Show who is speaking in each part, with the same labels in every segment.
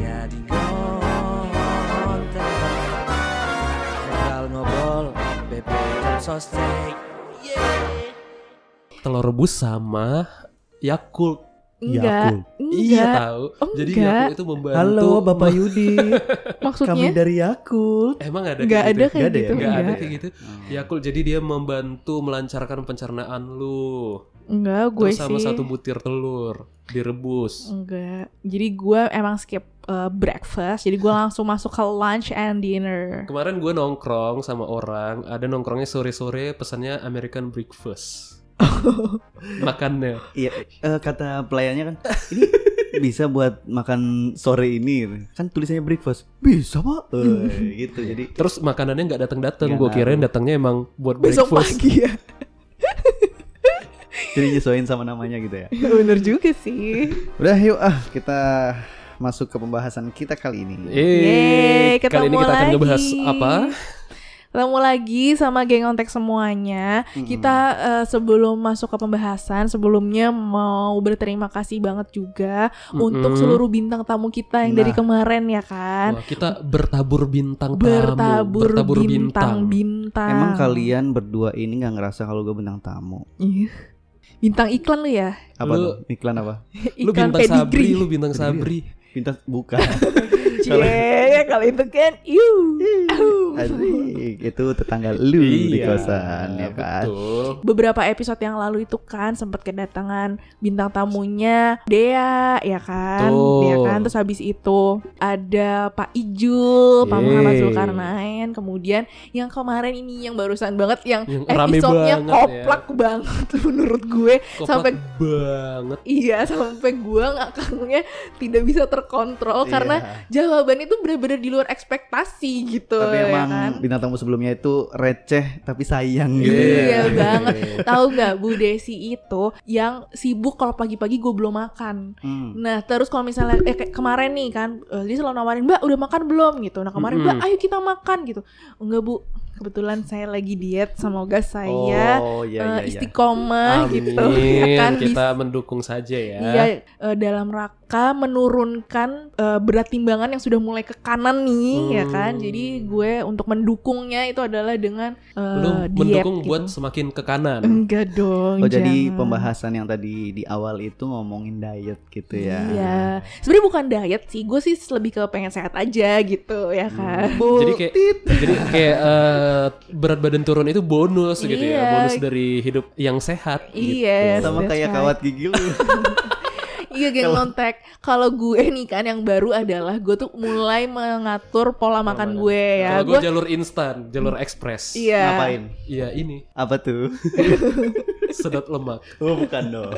Speaker 1: jadi konten Ngobrol ngobrol BP dan sostek
Speaker 2: telur rebus sama Yakult.
Speaker 3: Yakult.
Speaker 4: Enggak,
Speaker 2: Iya
Speaker 4: enggak.
Speaker 2: tahu.
Speaker 4: Oh,
Speaker 2: Jadi
Speaker 4: enggak.
Speaker 2: Yakult itu membantu.
Speaker 3: Halo Bapak Yudi, kami
Speaker 4: Maksudnya
Speaker 3: dari Yakult.
Speaker 2: Emang ada
Speaker 4: enggak
Speaker 2: kayak
Speaker 4: ada
Speaker 2: gitu?
Speaker 4: kayak
Speaker 3: Enggak ada ya?
Speaker 4: gitu.
Speaker 2: Enggak ada
Speaker 4: Enggak,
Speaker 2: kayak gitu. Yakult jadi dia membantu melancarkan pencernaan lu.
Speaker 4: enggak gue
Speaker 2: Terus sama
Speaker 4: sih.
Speaker 2: satu butir telur direbus.
Speaker 4: Enggak. Jadi gue emang skip uh, breakfast. Jadi gue langsung masuk ke lunch and dinner.
Speaker 2: Kemarin gue nongkrong sama orang, ada nongkrongnya sore-sore pesannya American breakfast. Makannya.
Speaker 3: Iya, eh, kata pelayannya kan, ini bisa buat makan sore ini. gitu. Kan tulisannya breakfast. Bisa pak? Eh, gitu. Jadi
Speaker 2: Terus makanannya nggak datang-datang.
Speaker 3: Nggak
Speaker 2: Gue
Speaker 3: tahu.
Speaker 2: kirain datangnya emang buat
Speaker 4: Besok
Speaker 2: breakfast.
Speaker 4: pagi ya.
Speaker 3: jadi nyesuaiin sama namanya gitu ya.
Speaker 4: Bener juga sih.
Speaker 3: Udah yuk ah kita masuk ke pembahasan kita kali ini.
Speaker 2: Eh,
Speaker 4: Yeay,
Speaker 2: kali
Speaker 4: ketemu
Speaker 2: ini kita akan
Speaker 4: lagi.
Speaker 2: ngebahas apa?
Speaker 4: Ketemu lagi sama geng ontek semuanya.
Speaker 3: Hmm.
Speaker 4: Kita eh, sebelum masuk ke pembahasan, sebelumnya mau berterima kasih banget juga untuk
Speaker 2: Mm-mm.
Speaker 4: seluruh bintang tamu kita yang dari
Speaker 3: Nah.
Speaker 4: kemarin ya kan.
Speaker 2: Wah, kita bertabur bintang tamu,
Speaker 4: bertabur,
Speaker 2: bertabur
Speaker 4: bintang, bintang
Speaker 3: Emang kalian berdua ini nggak ngerasa kalau gue bintang tamu?
Speaker 4: Ih, Bintang iklan lu ya?
Speaker 3: Apa
Speaker 2: Lu-
Speaker 3: tuh? Iklan apa?
Speaker 2: Lu
Speaker 4: Iklan
Speaker 2: bintang sabri,
Speaker 4: pedigree.
Speaker 2: lu bintang
Speaker 3: Pedigree.
Speaker 2: sabri.
Speaker 3: Bintang bukan.
Speaker 4: Cie, kalau itu kan iu.
Speaker 3: Adik, itu tetangga lu di
Speaker 2: Iya,
Speaker 3: kosan ya kan.
Speaker 2: Betul.
Speaker 4: Beberapa episode yang lalu itu kan sempat kedatangan bintang tamunya Dea, ya kan?
Speaker 2: Betul.
Speaker 4: Dea kan terus habis itu ada Pak Ijul, Pak
Speaker 2: Yeay.
Speaker 4: Muhammad Zulkarnain, kemudian yang kemarin ini yang barusan banget yang,
Speaker 2: Yang rame
Speaker 4: episodenya
Speaker 2: banget ya.
Speaker 4: koplak banget menurut gue
Speaker 2: Koplak
Speaker 4: sampai
Speaker 2: banget.
Speaker 4: Iya sampai gue ngakangnya tidak bisa
Speaker 3: Oh, Iya.
Speaker 4: terkontrol karena jawaban itu benar-benar di luar ekspektasi gitu
Speaker 3: tapi
Speaker 4: ya
Speaker 3: emang
Speaker 4: kan?
Speaker 3: bintang tamu sebelumnya itu receh tapi sayang gitu.
Speaker 4: Iya
Speaker 3: ya.
Speaker 4: banget. Tahu nggak Bu Desi itu yang sibuk kalau pagi-pagi gue belum makan.
Speaker 3: Hmm.
Speaker 4: Nah terus kalau misalnya eh, kayak kemarin nih kan eh, dia selalu nawarin Mbak udah makan belum gitu. Nah kemarin
Speaker 2: Mm-mm.
Speaker 4: Mbak ayo kita makan gitu. Enggak Bu kebetulan saya lagi diet semoga saya
Speaker 3: Oh
Speaker 4: Nah,
Speaker 3: iya
Speaker 4: eh,
Speaker 3: iya. iya.
Speaker 4: istiqomah
Speaker 2: Amin.
Speaker 4: gitu ya kan
Speaker 2: kita mendukung saja ya.
Speaker 4: Iya, eh, dalam rangka menurunkan eh, berat timbangan yang sudah mulai ke kanan nih, ya kan.
Speaker 2: Hmm.
Speaker 4: Jadi gue untuk mendukungnya itu adalah dengan eh,
Speaker 2: Lu
Speaker 4: diet.
Speaker 2: mendukung
Speaker 4: gitu. Mm.
Speaker 2: buat semakin ke kanan.
Speaker 4: enggak dong.
Speaker 3: Oh jadi
Speaker 4: jangan.
Speaker 3: pembahasan yang tadi di awal itu ngomongin diet gitu ya.
Speaker 4: Iya, sebenarnya bukan diet sih, gue sih lebih ke pengen sehat aja gitu ya kan.
Speaker 2: Hmm. Jadi kayak jadi kayak eh, berat badan turun itu bonus gitu ya,
Speaker 4: Iya.
Speaker 2: bonus dari hidup yang sehat. gitu.
Speaker 4: Iya,
Speaker 3: Sama
Speaker 4: that's
Speaker 3: kayak
Speaker 4: right.
Speaker 3: kawat gigi lu.
Speaker 4: Iya geng
Speaker 3: Kalau-
Speaker 4: lontek. Kalau gue nih kan yang baru adalah gue tuh mulai mengatur pola
Speaker 2: makan.
Speaker 4: makan gue ya.
Speaker 2: Kalau gue
Speaker 4: Gue
Speaker 2: jalur instan, jalur ekspres.
Speaker 4: iya.
Speaker 3: Ngapain?
Speaker 2: Iya ini
Speaker 3: Apa tuh?
Speaker 2: sedot lemak.
Speaker 3: Oh bukan dong.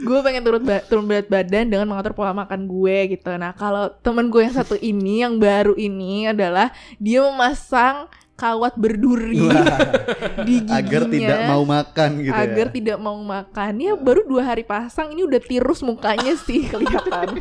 Speaker 4: gue pengen turun ba- turun berat badan dengan mengatur pola makan gue gitu. Nah kalau temen gue yang satu ini yang baru ini adalah dia memasang kawat berduri di giginya
Speaker 3: Agar tidak mau makan gitu
Speaker 4: agar
Speaker 3: ya.
Speaker 4: tidak mau makan. Ya baru dua hari pasang ini udah tirus mukanya sih kelihatan.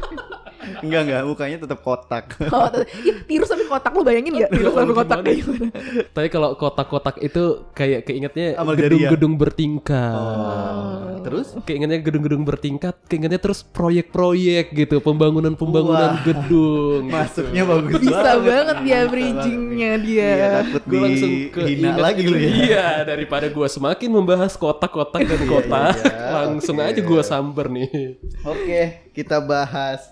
Speaker 3: Enggak enggak, mukanya tetap kotak.
Speaker 4: Kawat, ya, tirus sampai kotak lo bayangin nggak tirus sampai kotak kayak gimana?
Speaker 2: Tapi kalau kotak-kotak itu kayak keingetnya
Speaker 3: Amal jariah.
Speaker 2: gedung-gedung bertingkat.
Speaker 3: Oh. Terus
Speaker 2: Keingetnya gedung-gedung bertingkat, keingetnya terus proyek-proyek gitu, pembangunan-pembangunan
Speaker 3: Wah.
Speaker 2: gedung.
Speaker 3: masuknya bagus
Speaker 4: Bisa
Speaker 3: banget.
Speaker 4: banget ya
Speaker 3: Bisa
Speaker 4: bridgingnya
Speaker 3: banget.
Speaker 4: dia.
Speaker 3: Iya, takut
Speaker 2: Gue langsung ke
Speaker 3: dihina lagi lu ya.
Speaker 2: Iya, daripada gua semakin membahas kotak-kotak dan kotak,
Speaker 3: iya, iya.
Speaker 2: langsung
Speaker 3: Oke.
Speaker 2: aja gua samber nih.
Speaker 3: Oke, kita bahas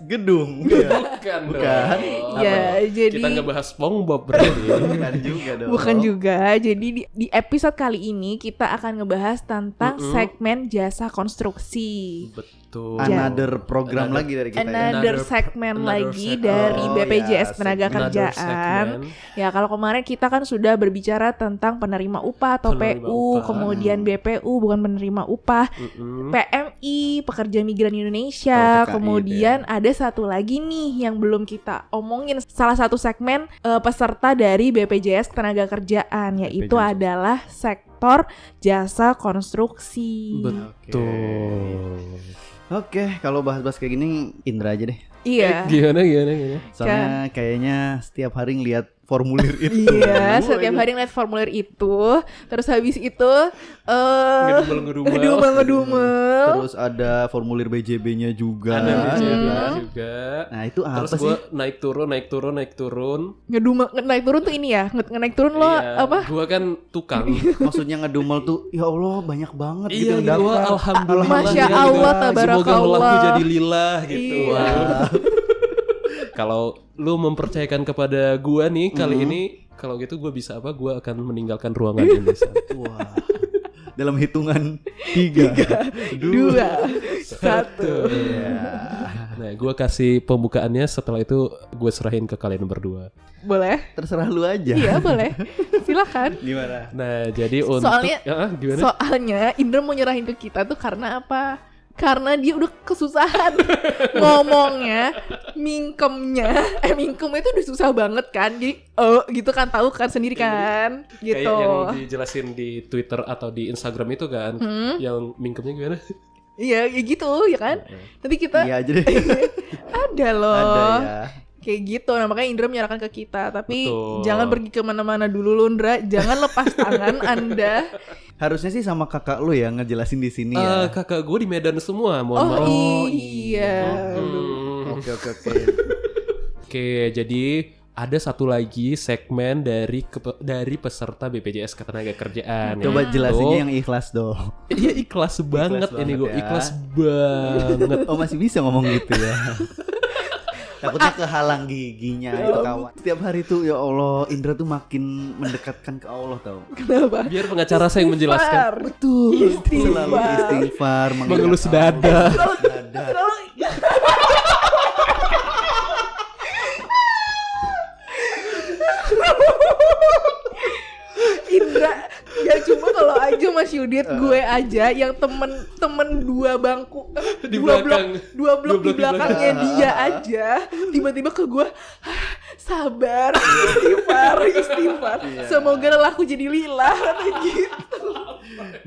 Speaker 3: gedung.
Speaker 2: Bukan, Iya,
Speaker 3: Bukan. Iya.
Speaker 2: dong.
Speaker 4: Ya, jadi-
Speaker 2: kita ngebahas SpongeBob berarti.
Speaker 3: Bukan juga dong.
Speaker 4: Bukan juga. Jadi di, di episode kali ini kita akan ngebahas tentang
Speaker 2: Mm-mm. Gitu
Speaker 4: segmen jasa konstruksi.
Speaker 2: Betul.
Speaker 3: Another program lagi dari kita ya.
Speaker 4: Another,
Speaker 2: Another-
Speaker 4: segmen
Speaker 2: another
Speaker 4: lagi
Speaker 2: segmen.
Speaker 4: dari
Speaker 3: Oh,
Speaker 4: BPJS
Speaker 3: ya,
Speaker 4: Tenaga
Speaker 3: segmen.
Speaker 2: Another
Speaker 4: Kerjaan.
Speaker 2: segmen.
Speaker 4: Ya, kalau kemarin kita kan sudah berbicara tentang penerima upah atau
Speaker 2: Penerima
Speaker 4: PU,
Speaker 2: upah.
Speaker 4: kemudian BPU bukan penerima upah,
Speaker 2: Mm-mm.
Speaker 4: Hmm? PMI, pekerja migran Indonesia,
Speaker 3: Oh, PKI,
Speaker 4: kemudian ada satu lagi nih yang belum kita omongin salah satu segmen eh, peserta dari BPJS Tenaga Kerjaan yaitu
Speaker 3: BPJS.
Speaker 4: adalah sektor jasa konstruksi.
Speaker 2: Betul.
Speaker 3: Oke, kalau bahas-bahas kayak gini Indra aja deh.
Speaker 4: Iya.
Speaker 2: Gimana gimana gimana?
Speaker 3: Soalnya kayaknya setiap hari ngelihat formulir itu.
Speaker 4: Iya, setiap hari ngeliat formulir itu, terus habis itu eh
Speaker 2: Ngedumel-ngedumel.
Speaker 4: ngedumel ngedumel.
Speaker 3: Terus ada formulir BJB-nya juga.
Speaker 2: Ada BJB
Speaker 4: Hmm.
Speaker 2: juga.
Speaker 3: Nah, itu apa
Speaker 2: Terus
Speaker 3: sih?
Speaker 2: gue naik turun, naik turun, naik turun.
Speaker 4: Ngedumel naik turun tuh ini ya, nge nge- naik turun lo
Speaker 2: Iya,
Speaker 4: apa?
Speaker 2: Gua kan tukang.
Speaker 3: Maksudnya ngedumel tuh, ya Allah banyak banget gitu
Speaker 2: iya,
Speaker 3: yang
Speaker 2: gua
Speaker 3: daftar.
Speaker 2: alhamdulillah.
Speaker 4: Masya
Speaker 2: ya,
Speaker 4: Allah,
Speaker 2: gitu. Semoga
Speaker 4: tabarakallah.
Speaker 2: lelahku jadi lillah gitu.
Speaker 4: Iya.
Speaker 2: Wah. kalau lu mempercayakan kepada gua nih kali
Speaker 3: Mm-hmm.
Speaker 2: ini, kalau gitu gua bisa apa? Gua akan meninggalkan ruangan ini. San.
Speaker 3: Wah. Dalam hitungan tiga.
Speaker 4: Dua, satu.
Speaker 3: Iya.
Speaker 2: Nah, gua kasih pembukaannya setelah itu gue serahin ke kalian berdua.
Speaker 4: Boleh?
Speaker 3: Terserah lu aja.
Speaker 4: Iya, boleh. Silakan.
Speaker 3: Gimana?
Speaker 2: Nah, jadi untuk
Speaker 4: Soalnya-
Speaker 2: Ah, ah, gimana?
Speaker 4: Soalnya Indra mau nyerahin ke kita tuh karena apa? Karena dia udah kesusahan ngomongnya, mingkemnya, eh mingkemnya itu udah susah banget kan, jadi eh gitu kan tahu kan sendiri kan,
Speaker 2: Kayak
Speaker 4: gitu.
Speaker 2: yang dijelasin di Twitter atau di Instagram itu kan,
Speaker 4: Hmm.
Speaker 2: yang mingkemnya gimana? Eh,
Speaker 4: Iya, ya gitu ya kan. Tapi kita
Speaker 3: Iya aja deh.
Speaker 4: ada loh.
Speaker 3: Ada ya.
Speaker 4: Kayak gitu. Nah, makanya Indra menyerahkan ke kita, tapi
Speaker 2: Betul.
Speaker 4: jangan pergi kemana mana dulu lu Indra. Jangan lepas tangan Anda.
Speaker 3: Harusnya sih sama kakak lu ya ngejelasin di sini
Speaker 2: Eh,
Speaker 3: ya.
Speaker 2: kakak gue di Medan semua, mohon
Speaker 4: Oh,
Speaker 2: maaf.
Speaker 4: iya.
Speaker 2: Hmm.
Speaker 3: Oke oke oke.
Speaker 2: Oke, jadi ada satu lagi segmen dari kepe- dari peserta BPJS Ketenagakerjaan.
Speaker 4: Hmm.
Speaker 3: Coba
Speaker 2: yaitu-
Speaker 3: jelasinnya yang ikhlas dong.
Speaker 2: Iya ikhlas banget ini
Speaker 3: banget
Speaker 2: gue,
Speaker 3: ya.
Speaker 2: ikhlas banget.
Speaker 3: Oh masih bisa ngomong gitu ya. Takutnya kehalang giginya itu kawan. Setiap hari tuh ya Allah, Indra tuh makin mendekatkan ke Allah tau.
Speaker 4: Kenapa?
Speaker 2: Biar pengacara saya yang menjelaskan.
Speaker 4: Far.
Speaker 3: Betul. Selalu
Speaker 4: Istighfar.
Speaker 3: istighfar, mengingat
Speaker 2: Mengelus
Speaker 3: Allah,
Speaker 2: dada.
Speaker 3: mengelus dada.
Speaker 4: Terlalu- Indra ya cuma kalau aja Mas Yudit
Speaker 3: Ah.
Speaker 4: gue aja yang temen temen dua bangku eh,
Speaker 2: Di
Speaker 4: dua
Speaker 2: belakang.
Speaker 4: blok dua blok
Speaker 2: Dua
Speaker 4: di
Speaker 2: blok di
Speaker 4: belakangnya
Speaker 3: Ah.
Speaker 4: dia aja tiba-tiba ke gue "Ah, sabar istighfar istighfar
Speaker 3: Iya.
Speaker 4: semoga lelaku jadi lila katanya gitu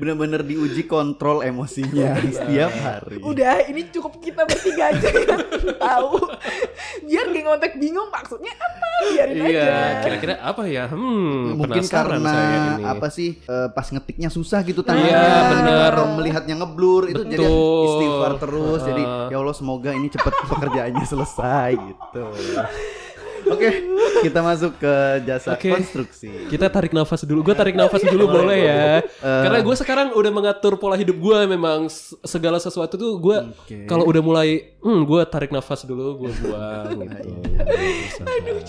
Speaker 3: Bener-bener diuji kontrol emosinya setiap hari.
Speaker 2: Iya.
Speaker 4: udah ini cukup kita bertiga aja yang tahu biar geng kontak bingung maksudnya apa biarin
Speaker 2: Iya,
Speaker 4: aja
Speaker 2: kira-kira apa ya? Hmm,
Speaker 3: Mungkin
Speaker 2: penasaran
Speaker 3: karena
Speaker 2: saya ini.
Speaker 3: apa sih eh, pas ngetiknya susah gitu tangannya.
Speaker 2: Iya, bener.
Speaker 3: Melihatnya ngeblur itu jadi
Speaker 2: Betul.
Speaker 3: istighfar terus. Jadi
Speaker 2: Heeh.
Speaker 3: ya Allah semoga ini cepet pekerjaannya selesai gitu. Oke, kita masuk ke jasa
Speaker 2: Oke.
Speaker 3: konstruksi.
Speaker 2: Kita tarik nafas dulu. Gue tarik nafas dulu
Speaker 3: Boleh,
Speaker 2: boleh ya.
Speaker 3: boleh. Eh.
Speaker 2: Karena gue sekarang udah mengatur pola hidup gue memang s- segala sesuatu tuh gue
Speaker 3: Oke.
Speaker 2: kalau udah mulai, hmm, gue tarik nafas dulu, gue buang gitu.
Speaker 4: demi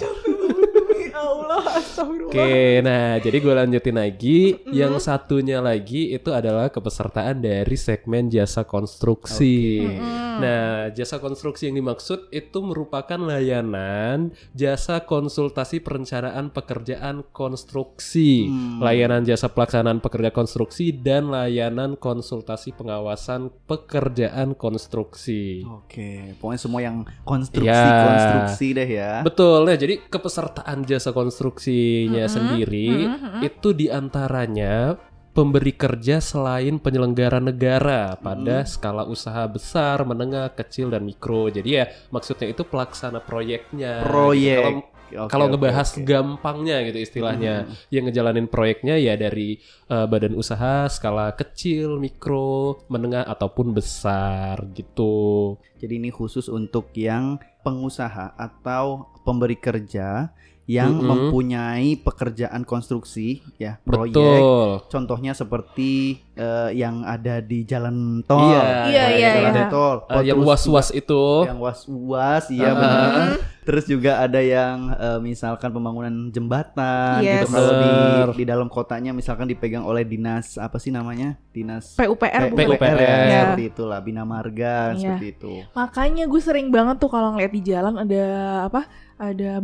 Speaker 4: Ya Allah astagfirullah
Speaker 2: Oke, nah jadi gue lanjutin lagi. Yang satunya lagi itu adalah kepesertaan dari segmen jasa konstruksi.
Speaker 4: Hmm.
Speaker 2: Nah, jasa konstruksi yang dimaksud itu merupakan layanan jasa konsultasi perencanaan pekerjaan konstruksi, layanan jasa pelaksanaan pekerja konstruksi, dan layanan konsultasi pengawasan pekerjaan konstruksi.
Speaker 3: Oke, pokoknya semua yang konstruksi
Speaker 2: Ya.
Speaker 3: konstruksi deh ya.
Speaker 2: Betul. Nah, jadi kepesertaan jasa konstruksinya sendiri Hmm?
Speaker 4: Hmm.
Speaker 2: itu diantaranya pemberi kerja selain penyelenggara negara pada
Speaker 3: Hmm.
Speaker 2: skala usaha besar, menengah, kecil, dan mikro. Jadi ya maksudnya itu pelaksana proyeknya. gitu.
Speaker 3: Proyek.
Speaker 2: Kalau-
Speaker 3: Oke,
Speaker 2: kalau
Speaker 3: oke,
Speaker 2: ngebahas
Speaker 3: oke. Hmm.
Speaker 2: gampangnya gitu istilahnya yang ngejalanin proyeknya ya dari eh, badan usaha skala kecil, mikro, menengah ataupun besar gitu.
Speaker 3: Jadi ini khusus untuk yang pengusaha atau pemberi kerja yang
Speaker 2: Mm-mm.
Speaker 3: mempunyai pekerjaan konstruksi ya proyek.
Speaker 2: Betul.
Speaker 3: Contohnya seperti eh, yang ada di jalan tol. Nah,
Speaker 4: Iya,
Speaker 2: kayak
Speaker 4: iya,
Speaker 2: gitu.
Speaker 3: Jalan
Speaker 4: iya.
Speaker 3: tol.
Speaker 2: Eh, yang
Speaker 3: Oh, Terus
Speaker 2: was-was itu.
Speaker 3: yang was-was, iya
Speaker 2: Ah.
Speaker 4: Hmm,
Speaker 3: benar. Terus juga ada yang eh, misalkan pembangunan jembatan
Speaker 4: Yes.
Speaker 3: gitu kalau di
Speaker 2: Bener.
Speaker 3: di dalam kotanya misalkan dipegang oleh dinas apa sih namanya? Dinas
Speaker 4: PUPR
Speaker 3: P-
Speaker 4: bukan?
Speaker 2: PUPR.
Speaker 3: ya,
Speaker 4: Iya.
Speaker 3: seperti itulah bina marga
Speaker 4: Iya.
Speaker 3: seperti itu.
Speaker 4: Makanya gue sering banget tuh kalau ngeliat di jalan ada apa? Ada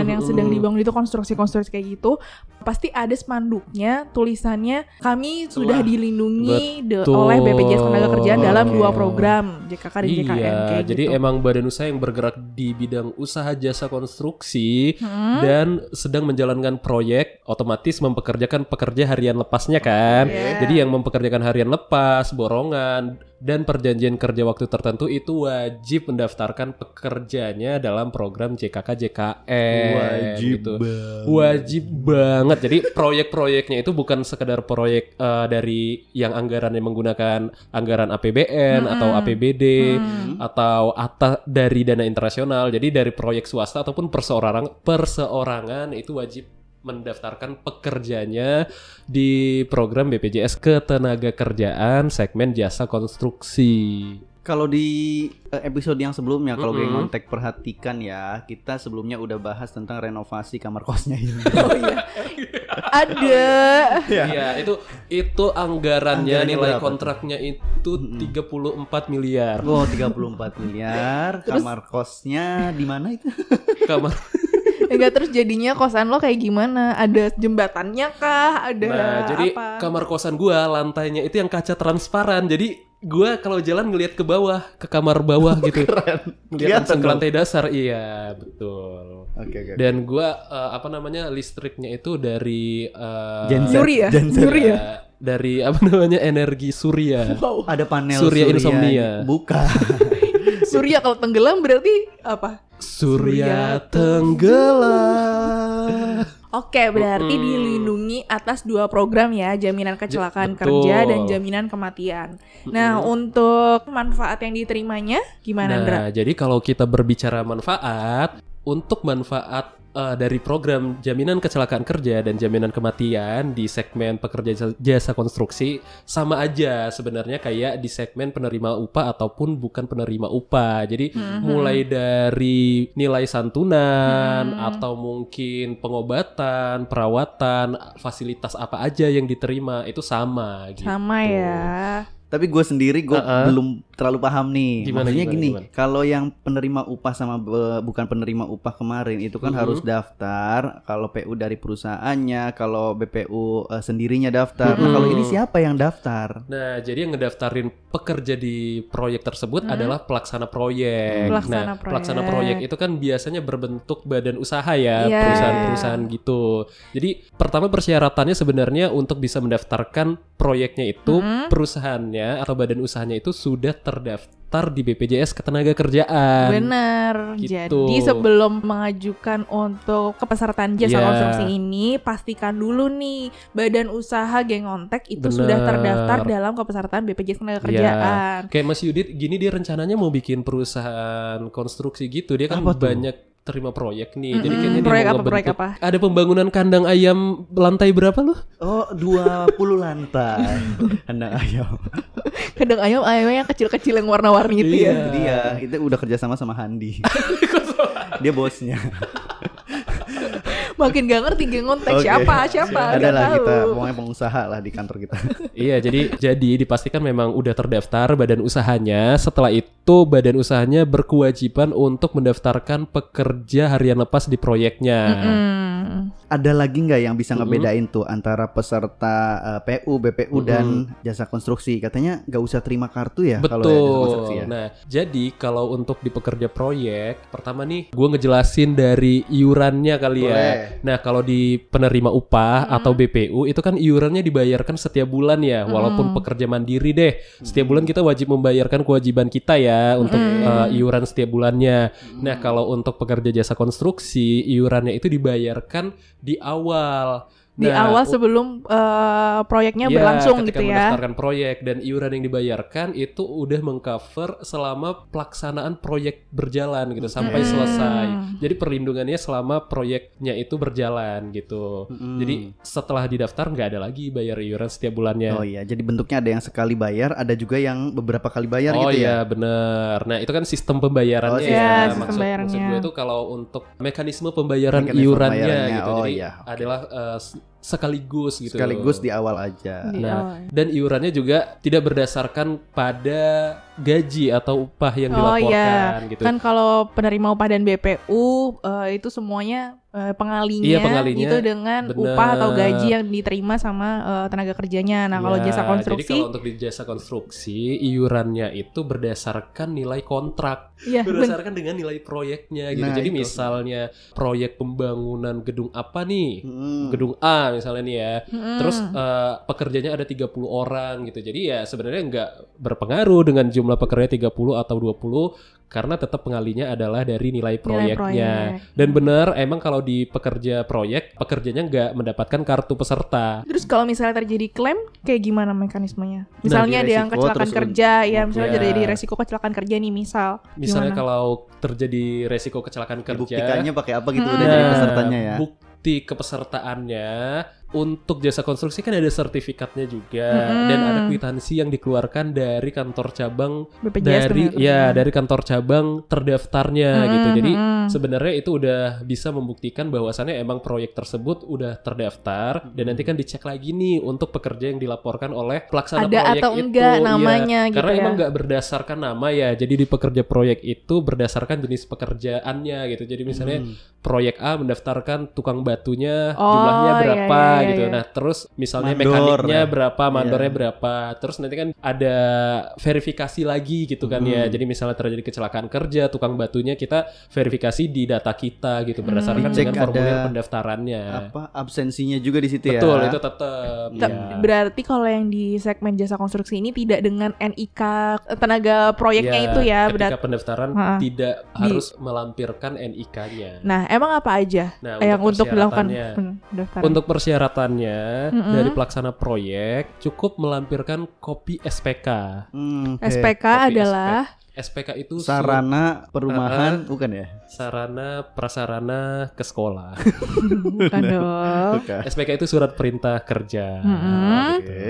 Speaker 2: Mm, mm,
Speaker 4: yang
Speaker 2: mm,
Speaker 4: sedang
Speaker 2: mm.
Speaker 4: dibangun itu konstruksi-konstruksi kayak gitu, pasti ada spanduknya, tulisannya kami sudah dilindungi de-
Speaker 2: Betul.
Speaker 4: oleh BPJS Ketenagakerjaan dalam dua
Speaker 2: Oke.
Speaker 4: program JKK dan JKN
Speaker 2: Iya,
Speaker 4: kayak
Speaker 2: jadi
Speaker 4: gitu.
Speaker 2: emang badan usaha yang bergerak di bidang usaha jasa konstruksi
Speaker 4: Hmm.
Speaker 2: dan sedang menjalankan proyek otomatis mempekerjakan pekerja harian lepasnya kan.
Speaker 4: Iya.
Speaker 2: Jadi yang mempekerjakan harian lepas, borongan, dan perjanjian kerja waktu tertentu itu wajib mendaftarkan pekerjanya dalam program JKK JKN
Speaker 3: Wajib
Speaker 2: gitu.
Speaker 3: banget.
Speaker 2: Wajib banget. Jadi proyek-proyeknya itu bukan sekedar proyek eh, dari yang anggarannya menggunakan anggaran APBN atau
Speaker 4: Mm-mm.
Speaker 2: APBD
Speaker 4: Hmm.
Speaker 2: atau atas dari dana internasional. Jadi dari proyek swasta ataupun perseorangan perseorangan itu wajib mendaftarkan pekerjanya di program BPJS Ketenagakerjaan segmen jasa konstruksi.
Speaker 3: Kalau di eh, episode yang sebelumnya kalau
Speaker 2: Mm-mm.
Speaker 3: geng kontak perhatikan ya, kita sebelumnya udah bahas tentang renovasi kamar kosnya ini.
Speaker 4: Oh iya. Ada.
Speaker 2: Iya, itu itu anggarannya
Speaker 3: Anggarannya
Speaker 2: nilai
Speaker 3: berapa tuh?
Speaker 2: kontraknya itu
Speaker 3: Mm-mm.
Speaker 2: 34 miliar.
Speaker 3: Oh, 34 miliar. kamar kosnya di mana itu?
Speaker 2: Kamar.
Speaker 4: Enggak terus jadinya kosan lo kayak gimana? Ada jembatannya kah? Ada
Speaker 2: Nah, jadi
Speaker 4: apa?
Speaker 2: kamar kosan gua lantainya itu yang kaca transparan. Jadi gua kalau jalan ngelihat ke bawah, ke kamar bawah gitu.
Speaker 3: Keren.
Speaker 2: Ngelihat langsung ke
Speaker 3: dong.
Speaker 2: lantai dasar. Iya, betul.
Speaker 3: Oke, oke.
Speaker 2: Dan gua eh, apa namanya listriknya itu dari eh,
Speaker 3: Genset.
Speaker 4: Yuri ya?
Speaker 3: Genset.
Speaker 4: Yuri ya?
Speaker 2: eh, dari apa namanya energi surya.
Speaker 4: Wow.
Speaker 3: Ada panel
Speaker 2: Surya insomnia.
Speaker 3: Bukan.
Speaker 4: Surya ya, kalau tenggelam berarti apa?
Speaker 2: Surya tenggelam.
Speaker 4: Oke, berarti
Speaker 2: Mm-mm.
Speaker 4: dilindungi atas dua program ya, jaminan kecelakaan
Speaker 2: Betul.
Speaker 4: kerja dan jaminan kematian. Nah, untuk manfaat yang diterimanya gimana, Ndra?
Speaker 2: Nah, jadi kalau kita berbicara manfaat, untuk manfaat eh, dari program jaminan kecelakaan kerja dan jaminan kematian di segmen pekerja jasa- jasa konstruksi sama aja sebenarnya kayak di segmen penerima upah ataupun bukan penerima upah. Jadi
Speaker 4: Mhm.
Speaker 2: mulai dari nilai santunan
Speaker 4: Hmm.
Speaker 2: atau mungkin pengobatan, perawatan, fasilitas apa aja yang diterima itu sama gitu.
Speaker 4: Sama ya.
Speaker 3: Tapi gue sendiri gue
Speaker 2: Uh-uh.
Speaker 3: belum terlalu paham nih.
Speaker 2: Gimana,
Speaker 3: Maksudnya
Speaker 2: gimana,
Speaker 3: gini,
Speaker 2: gimana?
Speaker 3: kalau yang penerima upah sama be- bukan penerima upah kemarin itu kan
Speaker 2: Mhm.
Speaker 3: harus daftar. Kalau PU dari perusahaannya, kalau BPU eh, sendirinya daftar. Nah,
Speaker 2: Mhm.
Speaker 3: kalau ini siapa yang daftar?
Speaker 2: Nah, jadi yang ngedaftarin pekerja di proyek tersebut
Speaker 4: Hmm.
Speaker 2: adalah pelaksana proyek.
Speaker 4: Pelaksana
Speaker 2: nah,
Speaker 4: proyek.
Speaker 2: pelaksana proyek itu kan biasanya berbentuk badan usaha ya,
Speaker 4: Iya.
Speaker 2: perusahaan-perusahaan gitu. Jadi, pertama persyaratannya sebenarnya untuk bisa mendaftarkan proyeknya itu
Speaker 4: Hmm.
Speaker 2: perusahaannya atau badan usahanya itu sudah terdaftar di BPJS Ketenagakerjaan.
Speaker 4: Benar.
Speaker 2: gitu.
Speaker 4: Jadi sebelum mengajukan untuk kepesertaan jasa
Speaker 2: Iya.
Speaker 4: konstruksi ini, pastikan dulu nih badan usaha geng ontek itu
Speaker 2: Bener.
Speaker 4: sudah terdaftar dalam kepesertaan BPJS
Speaker 2: Iya.
Speaker 4: Ketenagakerjaan.
Speaker 2: Kayak Mas Yudit gini dia rencananya mau bikin perusahaan konstruksi gitu. Dia kan
Speaker 3: Apa tuh?
Speaker 2: banyak terima proyek nih. Iya, Jadi
Speaker 4: Mm-mm.
Speaker 2: kayaknya dia
Speaker 4: Proyek
Speaker 2: mau
Speaker 4: apa, proyek
Speaker 2: ngebentuk-
Speaker 4: apa?
Speaker 2: Ada pembangunan kandang ayam lantai berapa loh?
Speaker 3: Oh, 20 lantai. Anak ayam.
Speaker 4: Kadang ayam ayamnya yang kecil-kecil yang warna-warni itu
Speaker 2: Iya.
Speaker 4: ya.
Speaker 3: Itu dia, itu udah kerjasama sama Handi. Dia bosnya.
Speaker 4: Makin gak ngerti geng ontek
Speaker 3: Oke.
Speaker 4: siapa siapa.
Speaker 3: Ada
Speaker 4: nggak
Speaker 3: lah
Speaker 4: tahu.
Speaker 3: kita, pokoknya pengusaha lah di kantor kita.
Speaker 2: Iya, jadi jadi dipastikan memang udah terdaftar badan usahanya. Setelah itu badan usahanya berkewajiban untuk mendaftarkan pekerja harian lepas di proyeknya.
Speaker 4: Mm-mm.
Speaker 3: Ada lagi nggak yang bisa
Speaker 2: Mm-mm.
Speaker 3: ngebedain tuh antara peserta eh, PU, BPU dan jasa konstruksi? Katanya nggak usah terima kartu ya kalau ya, jasa
Speaker 2: Betul.
Speaker 3: konstruksi ya.
Speaker 2: Nah, jadi kalau untuk di pekerja proyek, pertama nih gue ngejelasin dari iurannya kali ya.
Speaker 3: Boleh.
Speaker 2: Nah, kalau di penerima upah
Speaker 4: Mhm.
Speaker 2: atau BPU itu kan iurannya dibayarkan setiap bulan ya, walaupun
Speaker 4: Mhm.
Speaker 2: pekerja mandiri deh. Setiap bulan kita wajib membayarkan kewajiban kita ya untuk
Speaker 4: Mhm.
Speaker 2: eh, iuran setiap bulannya.
Speaker 4: Hmm.
Speaker 2: Nah, kalau untuk pekerja jasa konstruksi, iurannya itu dibayarkan di awal.
Speaker 4: Di
Speaker 2: Nah,
Speaker 4: awal
Speaker 2: u-
Speaker 4: sebelum eh, proyeknya
Speaker 2: Iya,
Speaker 4: berlangsung
Speaker 2: ketika
Speaker 4: gitu ya.
Speaker 2: mendaftarkan proyek dan iuran yang dibayarkan itu udah mengcover selama pelaksanaan proyek berjalan gitu sampai
Speaker 4: Mm-mm.
Speaker 2: selesai. Jadi perlindungannya selama proyeknya itu berjalan gitu.
Speaker 3: Mm-mm.
Speaker 2: Jadi setelah didaftar nggak ada lagi bayar iuran setiap bulannya.
Speaker 3: Hmm. Oh iya, jadi bentuknya ada yang sekali bayar, ada juga yang beberapa kali bayar
Speaker 2: oh
Speaker 3: gitu ya.
Speaker 2: iya bener. Nah itu kan sistem pembayarannya.
Speaker 3: Oh, sistem
Speaker 2: ya.
Speaker 3: pembayaran.
Speaker 2: Maksud, maksud
Speaker 4: Sistem
Speaker 2: gue
Speaker 4: pembayarannya.
Speaker 2: itu kalau untuk mekanisme pembayaran
Speaker 3: Mekanisme
Speaker 2: iurannya
Speaker 3: pembayarannya,
Speaker 2: gitu.
Speaker 3: oh
Speaker 2: Jadi
Speaker 3: iya, oke.
Speaker 2: adalah eh, s- sekaligus gitu.
Speaker 3: Sekaligus di awal aja.
Speaker 4: Di
Speaker 2: Nah,
Speaker 4: awal.
Speaker 2: dan iurannya juga tidak berdasarkan pada gaji atau upah yang
Speaker 4: Oh,
Speaker 2: dilaporkan gitu.
Speaker 4: Kan kalau penerima upah dan BPU eh, itu semuanya eh, pengalinya,
Speaker 2: Iya, pengalinya.
Speaker 4: itu dengan
Speaker 2: Bener.
Speaker 4: upah atau gaji yang diterima sama eh, tenaga kerjanya. Nah, kalau
Speaker 2: Ya,
Speaker 4: jasa
Speaker 2: Jadi kalau
Speaker 4: konstruksi
Speaker 2: untuk di jasa konstruksi iurannya itu berdasarkan nilai kontrak,
Speaker 4: ya ben-
Speaker 2: berdasarkan dengan nilai proyeknya gitu.
Speaker 3: Nah,
Speaker 2: jadi
Speaker 3: itu.
Speaker 2: misalnya proyek pembangunan gedung apa nih?
Speaker 3: Hmm.
Speaker 2: Gedung A misalnya nih ya.
Speaker 4: Mm-mm.
Speaker 2: Terus eh, pekerjanya ada 30 orang gitu. Jadi ya sebenarnya nggak berpengaruh dengan jumlah pekerja 30 atau 20 karena tetap pengalinya adalah dari nilai proyeknya.
Speaker 4: proyek.
Speaker 2: Dan benar emang kalau di pekerja proyek pekerjanya nggak mendapatkan kartu peserta.
Speaker 4: Terus kalau misalnya terjadi klaim, kayak gimana mekanismenya? Misalnya
Speaker 2: Nah,
Speaker 3: Bagi
Speaker 4: ada yang
Speaker 3: resiko,
Speaker 4: kecelakaan
Speaker 3: terus-
Speaker 4: kerja, ya misalnya
Speaker 2: Ya.
Speaker 4: jadi resiko kecelakaan kerja nih misal.
Speaker 2: Misalnya
Speaker 4: Gimana?
Speaker 2: kalau terjadi resiko kecelakaan kerja
Speaker 3: Dibuktikannya pakai apa gitu udah
Speaker 4: Hmm.
Speaker 3: dari
Speaker 2: Nah,
Speaker 3: pesertanya ya.
Speaker 2: Bukti kepesertaannya untuk jasa konstruksi kan ada sertifikatnya juga
Speaker 4: Mm-mm.
Speaker 2: dan ada kwitansi yang dikeluarkan dari kantor cabang
Speaker 4: BPJS
Speaker 2: dari
Speaker 4: ternyata.
Speaker 2: ya dari kantor cabang terdaftarnya
Speaker 4: Mm,
Speaker 2: gitu. Jadi
Speaker 4: mm.
Speaker 2: sebenarnya itu udah bisa membuktikan bahwasannya emang proyek tersebut udah terdaftar dan nanti kan dicek lagi nih untuk pekerja yang dilaporkan oleh pelaksana
Speaker 4: Ada
Speaker 2: proyek
Speaker 4: atau
Speaker 2: itu.
Speaker 4: enggak
Speaker 2: Iya,
Speaker 4: namanya gitu
Speaker 2: karena
Speaker 4: ya.
Speaker 2: emang nggak berdasarkan nama ya. Jadi di pekerja proyek itu berdasarkan jenis pekerjaannya gitu. Jadi misalnya
Speaker 3: Hmm.
Speaker 2: proyek A mendaftarkan tukang batunya
Speaker 4: Oh,
Speaker 2: jumlahnya
Speaker 4: iya,
Speaker 2: berapa
Speaker 4: iya, iya,
Speaker 2: gitu.
Speaker 4: iya.
Speaker 2: Nah, terus misalnya
Speaker 3: Mandor.
Speaker 2: mekaniknya berapa, mandornya
Speaker 3: Iya.
Speaker 2: berapa. Terus nanti kan ada verifikasi lagi gitu kan ya.
Speaker 3: Hmm.
Speaker 2: Jadi misalnya terjadi kecelakaan kerja, tukang batunya kita verifikasi di data kita gitu berdasarkan
Speaker 4: Hmm.
Speaker 2: dengan
Speaker 3: Dicek
Speaker 2: formulir
Speaker 3: ada
Speaker 2: pendaftarannya.
Speaker 3: apa absensinya juga di situ ya. Iya.
Speaker 2: Betul, itu tetap.
Speaker 4: Ta-
Speaker 2: ya.
Speaker 4: Berarti kalau yang di segmen jasa konstruksi ini tidak dengan NIK eh, tenaga proyeknya itu
Speaker 2: Iya,
Speaker 4: ya.
Speaker 2: ketika
Speaker 4: Berarti.
Speaker 2: pendaftaran
Speaker 4: Ha-ha.
Speaker 2: tidak
Speaker 4: Di-
Speaker 2: harus melampirkan NIK-nya.
Speaker 4: Nah, emang apa aja
Speaker 2: Nah,
Speaker 4: yang untuk dilakukan Hmm,
Speaker 2: persyaratannya-
Speaker 4: pendaftaran?
Speaker 2: Untuk persyaratannya
Speaker 4: Mm-mm.
Speaker 2: dari pelaksana proyek cukup melampirkan kopi SPK.
Speaker 3: Hmm, oke.
Speaker 4: SPK
Speaker 2: Tapi
Speaker 4: adalah
Speaker 2: SPK itu sur-
Speaker 3: sarana perumahan bukan ya?
Speaker 2: sarana prasarana ke sekolah.
Speaker 4: Hmm, bukan dong.
Speaker 3: Bukan.
Speaker 2: SPK itu surat perintah kerja.
Speaker 4: Mm-mm.
Speaker 2: gitu.
Speaker 3: Oke.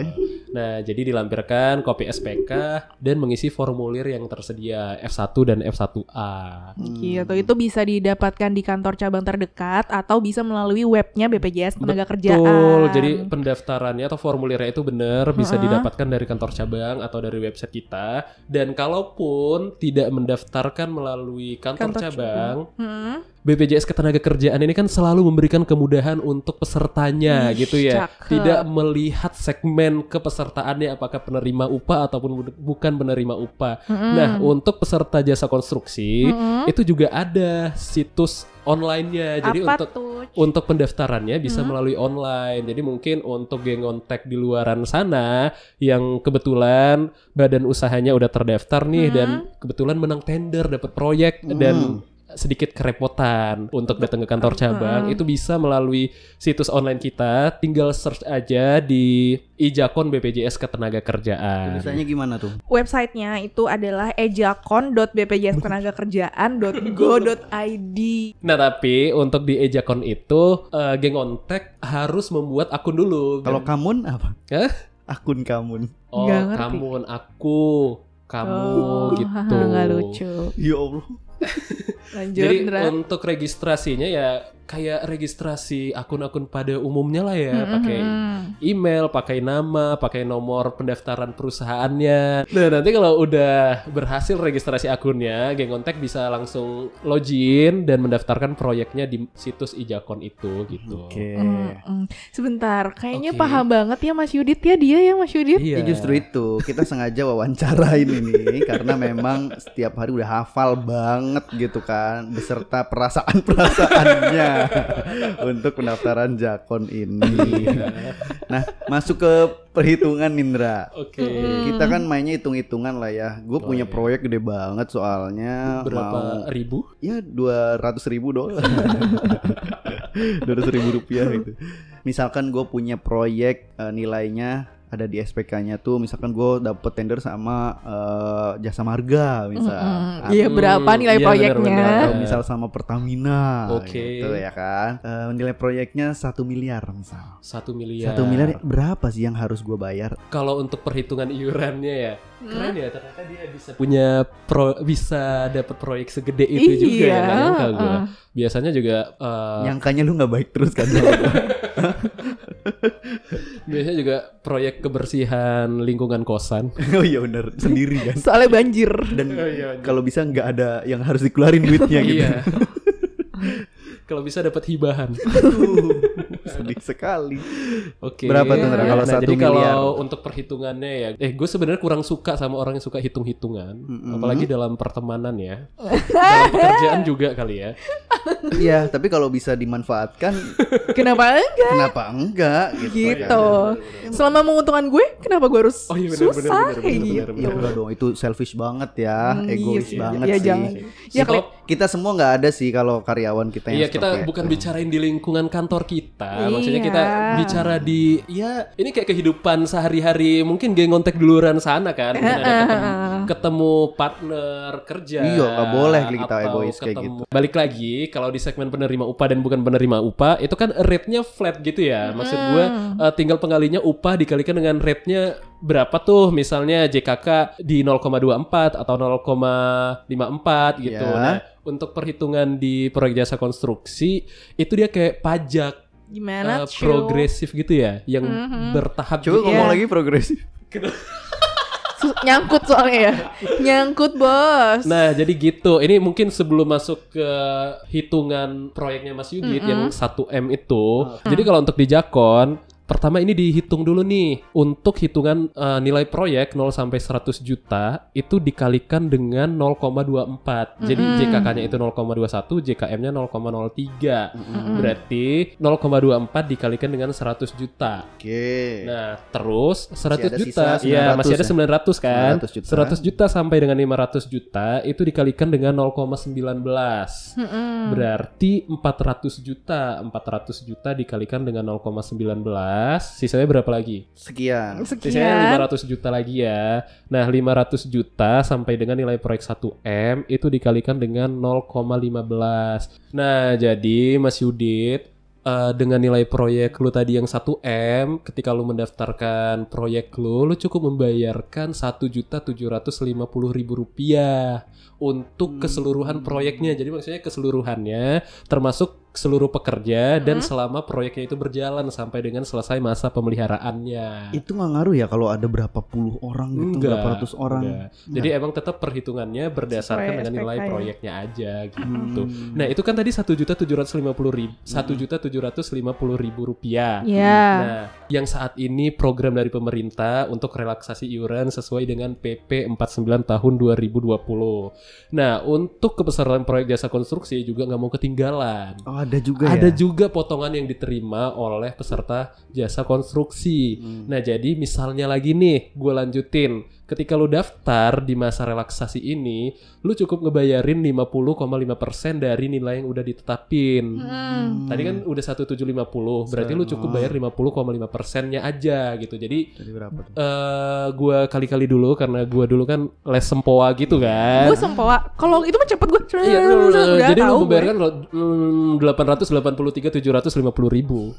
Speaker 2: Nah, jadi dilampirkan kopi SPK dan mengisi formulir yang tersedia F1 dan F1A.
Speaker 3: Hmm.
Speaker 4: Gitu. Itu bisa didapatkan di kantor cabang terdekat atau bisa melalui webnya BPJS Tenaga Kerjaan.
Speaker 2: Betul. Jadi pendaftarannya atau formulirnya itu benar bisa
Speaker 4: Mm-mm.
Speaker 2: didapatkan dari kantor cabang atau dari website kita. Dan kalaupun tidak mendaftarkan melalui kantor,
Speaker 4: Kantor
Speaker 2: cabang,
Speaker 4: Hmm,
Speaker 2: BPJS Ketenagakerjaan ini kan selalu memberikan kemudahan untuk pesertanya
Speaker 4: Ih,
Speaker 2: gitu ya.
Speaker 4: cakep.
Speaker 2: Tidak melihat segmen kepesertaannya apakah penerima upah ataupun bu- bukan penerima upah.
Speaker 4: hmm.
Speaker 2: Nah, untuk peserta jasa konstruksi
Speaker 4: Hmm.
Speaker 2: itu juga ada situs online-nya. Jadi
Speaker 4: apa
Speaker 2: untuk
Speaker 4: tuh?
Speaker 2: untuk pendaftarannya bisa
Speaker 4: Hmm.
Speaker 2: melalui online. Jadi mungkin untuk geng kontak di luaran sana yang kebetulan badan usahanya udah terdaftar nih
Speaker 4: Hmm.
Speaker 2: dan kebetulan menang tender dapat proyek dan
Speaker 3: Hmm.
Speaker 2: sedikit kerepotan untuk datang ke kantor cabang
Speaker 4: Hmm.
Speaker 2: itu bisa melalui situs online kita tinggal search aja di Ijakon BPJS Ketenagakerjaan.
Speaker 3: Tulisannya gimana tuh?
Speaker 4: Websitenya itu adalah ejakon.bpjstenaga.kerjaan.go.id
Speaker 2: Nah tapi untuk di Ejakon itu eh, geng kontak harus membuat akun dulu.
Speaker 3: Kalau kamun apa?
Speaker 2: Hah?
Speaker 3: Akun kamun.
Speaker 2: Oh,
Speaker 4: Nggak ngerti.
Speaker 2: kamu, aku, kamu gitu.
Speaker 4: Gak Oh, lucu
Speaker 3: Ya Allah.
Speaker 4: Lanjut
Speaker 2: Jadi
Speaker 4: Ndra.
Speaker 2: untuk registrasinya ya kayak registrasi akun-akun pada umumnya lah ya,
Speaker 4: Mm-mm,
Speaker 2: pakai
Speaker 4: mm-mm.
Speaker 2: email, pakai nama, pakai nomor pendaftaran perusahaannya. Nah, nanti kalau udah berhasil registrasi akunnya, Geng Kontak bisa langsung login dan mendaftarkan proyeknya di situs Ijakon itu gitu.
Speaker 3: Oke.
Speaker 4: Mm-mm. Sebentar Kayaknya
Speaker 2: Oke.
Speaker 4: paham banget ya Mas Yudit ya Dia ya Mas Yudit
Speaker 2: Iya.
Speaker 3: Ya justru itu kita sengaja wawancarain ini karena memang setiap hari udah hafal banget gitu kan beserta perasaan-perasaannya untuk pendaftaran jakon ini. Nah, masuk ke perhitungan Indra.
Speaker 2: Oke.
Speaker 3: Kita kan mainnya hitung-hitungan lah ya. Gue
Speaker 2: Oh,
Speaker 3: punya
Speaker 2: iya.
Speaker 3: proyek gede banget soalnya mau
Speaker 2: Berapa ribu?
Speaker 3: ya dua ratus ribu dolar dua ribu rupiah gitu misalkan gue punya proyek eh, nilainya ada di SPK-nya tuh misalkan gue dapet tender sama eh, jasa marga misal
Speaker 4: Mm-mm.
Speaker 3: Atau-
Speaker 4: Iya berapa
Speaker 2: Hmm,
Speaker 4: nilai
Speaker 2: iya,
Speaker 4: proyeknya
Speaker 2: benar-benar.
Speaker 3: atau misal sama Pertamina
Speaker 2: Oke.
Speaker 3: gitu ya kan Eh, nilai proyeknya satu miliar misal
Speaker 2: Satu miliar.
Speaker 3: satu miliar ya? berapa sih yang harus gue bayar
Speaker 2: Kalau untuk perhitungan iurannya ya,
Speaker 4: Hmm.
Speaker 2: keren ya ternyata dia bisa punya pro, bisa dapat proyek segede itu juga ya.
Speaker 4: Iya,
Speaker 2: nggak nyangka gua.
Speaker 4: uh.
Speaker 2: Biasanya juga eh,
Speaker 3: nyangkanya lu nggak baik terus kan
Speaker 2: biasanya juga proyek kebersihan lingkungan kosan.
Speaker 3: oh iya bener sendiri kan
Speaker 4: Soalnya banjir
Speaker 3: dan
Speaker 2: Oh, iya, iya.
Speaker 3: kalau bisa nggak ada yang harus dikeluarin duitnya gitu
Speaker 2: Iya. Kalau bisa dapat hibahan.
Speaker 3: Aduh, sedih sekali.
Speaker 2: Oke.
Speaker 3: Berapa
Speaker 4: tuh, Ndra,
Speaker 3: kalau
Speaker 2: Nah,
Speaker 3: satu
Speaker 2: jadi
Speaker 3: miliar?
Speaker 2: kalau untuk perhitungannya ya, eh gue sebenarnya kurang suka sama orang yang suka hitung-hitungan,
Speaker 3: Mm-mm.
Speaker 2: apalagi dalam pertemanan ya, dalam pekerjaan juga kali ya.
Speaker 3: Iya, tapi kalau bisa dimanfaatkan,
Speaker 2: Iya,
Speaker 4: Kenapa enggak?
Speaker 3: kenapa enggak? Gitu.
Speaker 4: Gitu. Selama menguntungkan gue, kenapa gue harus
Speaker 2: Oh iya, benar, benar,
Speaker 4: susah
Speaker 2: benar,
Speaker 4: kayak
Speaker 2: benar,
Speaker 4: gitu?
Speaker 2: benar,
Speaker 3: Ya udah dong, itu selfish banget ya,
Speaker 4: Hmm,
Speaker 3: egois
Speaker 4: iya,
Speaker 3: banget
Speaker 4: iya,
Speaker 3: sih.
Speaker 4: jangan. Ya,
Speaker 2: Stop.
Speaker 4: kali-
Speaker 3: Kita semua nggak ada sih kalau karyawan kita
Speaker 2: Iya
Speaker 3: yang
Speaker 2: kita
Speaker 3: stop ya.
Speaker 2: bukan bicarain di lingkungan kantor kita, maksudnya
Speaker 4: Iya.
Speaker 2: kita bicara di ya ini kayak kehidupan sehari-hari mungkin geng kontak duluran sana kan, Mungkin ada ketemu, ketemu partner kerja.
Speaker 3: Iya, nggak boleh kita
Speaker 2: atau
Speaker 3: egois kayak gitu.
Speaker 2: ketemu- Balik lagi kalau di segmen penerima upah dan bukan penerima upah itu kan rate-nya flat gitu ya, maksud gue eh, tinggal penggalinya upah dikalikan dengan rate-nya berapa tuh misalnya JKK di 0,24 atau 0,54 gitu.
Speaker 3: Ya.
Speaker 2: Nah, untuk perhitungan di proyek jasa konstruksi itu dia kayak pajak
Speaker 4: Gimana
Speaker 2: eh,
Speaker 4: cuy?
Speaker 2: progresif gitu ya yang bertahap
Speaker 3: Coba
Speaker 2: gitu.
Speaker 3: ngomong
Speaker 4: Iya.
Speaker 3: lagi progresif.
Speaker 4: Su- nyangkut soalnya ya. nyangkut, Bos.
Speaker 2: Nah, jadi gitu. Ini mungkin sebelum masuk ke hitungan proyeknya Mas Yudit yang 1M itu. Jadi kalau untuk di Jakon, pertama ini dihitung dulu nih. Untuk hitungan eh, nilai proyek 0 sampai 100 juta itu dikalikan dengan 0,24. Jadi JKK-nya itu 0,21, JKM-nya 0,03. Berarti 0,24 dikalikan dengan 100 juta.
Speaker 3: Oke.
Speaker 2: Nah, terus 100
Speaker 3: ada
Speaker 2: juta.
Speaker 3: sisa
Speaker 2: Iya,
Speaker 3: 900
Speaker 2: masih ada
Speaker 3: ya?
Speaker 2: 900 kan.
Speaker 3: 900 juta.
Speaker 2: 100 juta sampai dengan 500 juta itu dikalikan dengan 0,19.
Speaker 4: Mm-mm.
Speaker 2: Berarti 400 juta, 400 juta dikalikan dengan 0,19, sisanya berapa lagi?
Speaker 3: Sekian.
Speaker 2: Sisanya
Speaker 4: Sekian.
Speaker 2: 500 juta lagi ya. Nah, 500 juta sampai dengan nilai proyek 1M itu dikalikan dengan 0,15. Nah, jadi Mas Yudit eh, dengan nilai proyek lu tadi yang 1M ketika lu mendaftarkan proyek lu lu cukup membayarkan 1.750.000 rupiah untuk keseluruhan proyeknya. Jadi maksudnya keseluruhannya termasuk seluruh pekerja dan selama proyeknya itu berjalan sampai dengan selesai masa pemeliharaannya.
Speaker 3: Itu nggak ngaruh ya kalau ada berapa puluh orang
Speaker 2: Enggak,
Speaker 3: gitu, berapa ratus orang.
Speaker 2: Enggak. Jadi
Speaker 3: Nah.
Speaker 2: emang tetap perhitungannya berdasarkan
Speaker 4: Sesuai
Speaker 2: dengan
Speaker 4: SPK
Speaker 2: nilai
Speaker 4: ya.
Speaker 2: proyeknya aja gitu.
Speaker 3: Hmm.
Speaker 2: Nah itu kan tadi satu juta tujuh ratus lima puluh ribu, satu juta tujuh ratus lima puluh ribu rupiah.
Speaker 4: Ya.
Speaker 2: Nah, yang saat ini program dari pemerintah untuk relaksasi iuran sesuai dengan PP 49 tahun 2020. Nah, untuk kepesertaan proyek jasa konstruksi juga nggak mau ketinggalan.
Speaker 3: Oh, ada juga ya.
Speaker 2: Ada juga potongan yang diterima oleh peserta jasa konstruksi.
Speaker 3: Hmm.
Speaker 2: Nah, jadi misalnya lagi nih, gue lanjutin. Ketika lu daftar di masa relaksasi ini, lu cukup ngebayarin 50,5% dari nilai yang udah ditetapin.
Speaker 4: Mm.
Speaker 2: Tadi kan
Speaker 3: Hmm,
Speaker 2: udah 1750, berarti lu cukup bayar 50,5%-nya aja gitu. Jadi
Speaker 3: Jadi berapa tuh?
Speaker 2: eh gua kali-kali dulu karena gua dulu kan les sempoa gitu kan.
Speaker 4: Gue sempoa. Kalau itu mah cepet gue.
Speaker 2: Iya, lu- lu-
Speaker 4: Udah
Speaker 2: jadi
Speaker 4: tahu
Speaker 2: lu
Speaker 4: gue.
Speaker 2: membayarkan lo- mm, 883 750 ribu.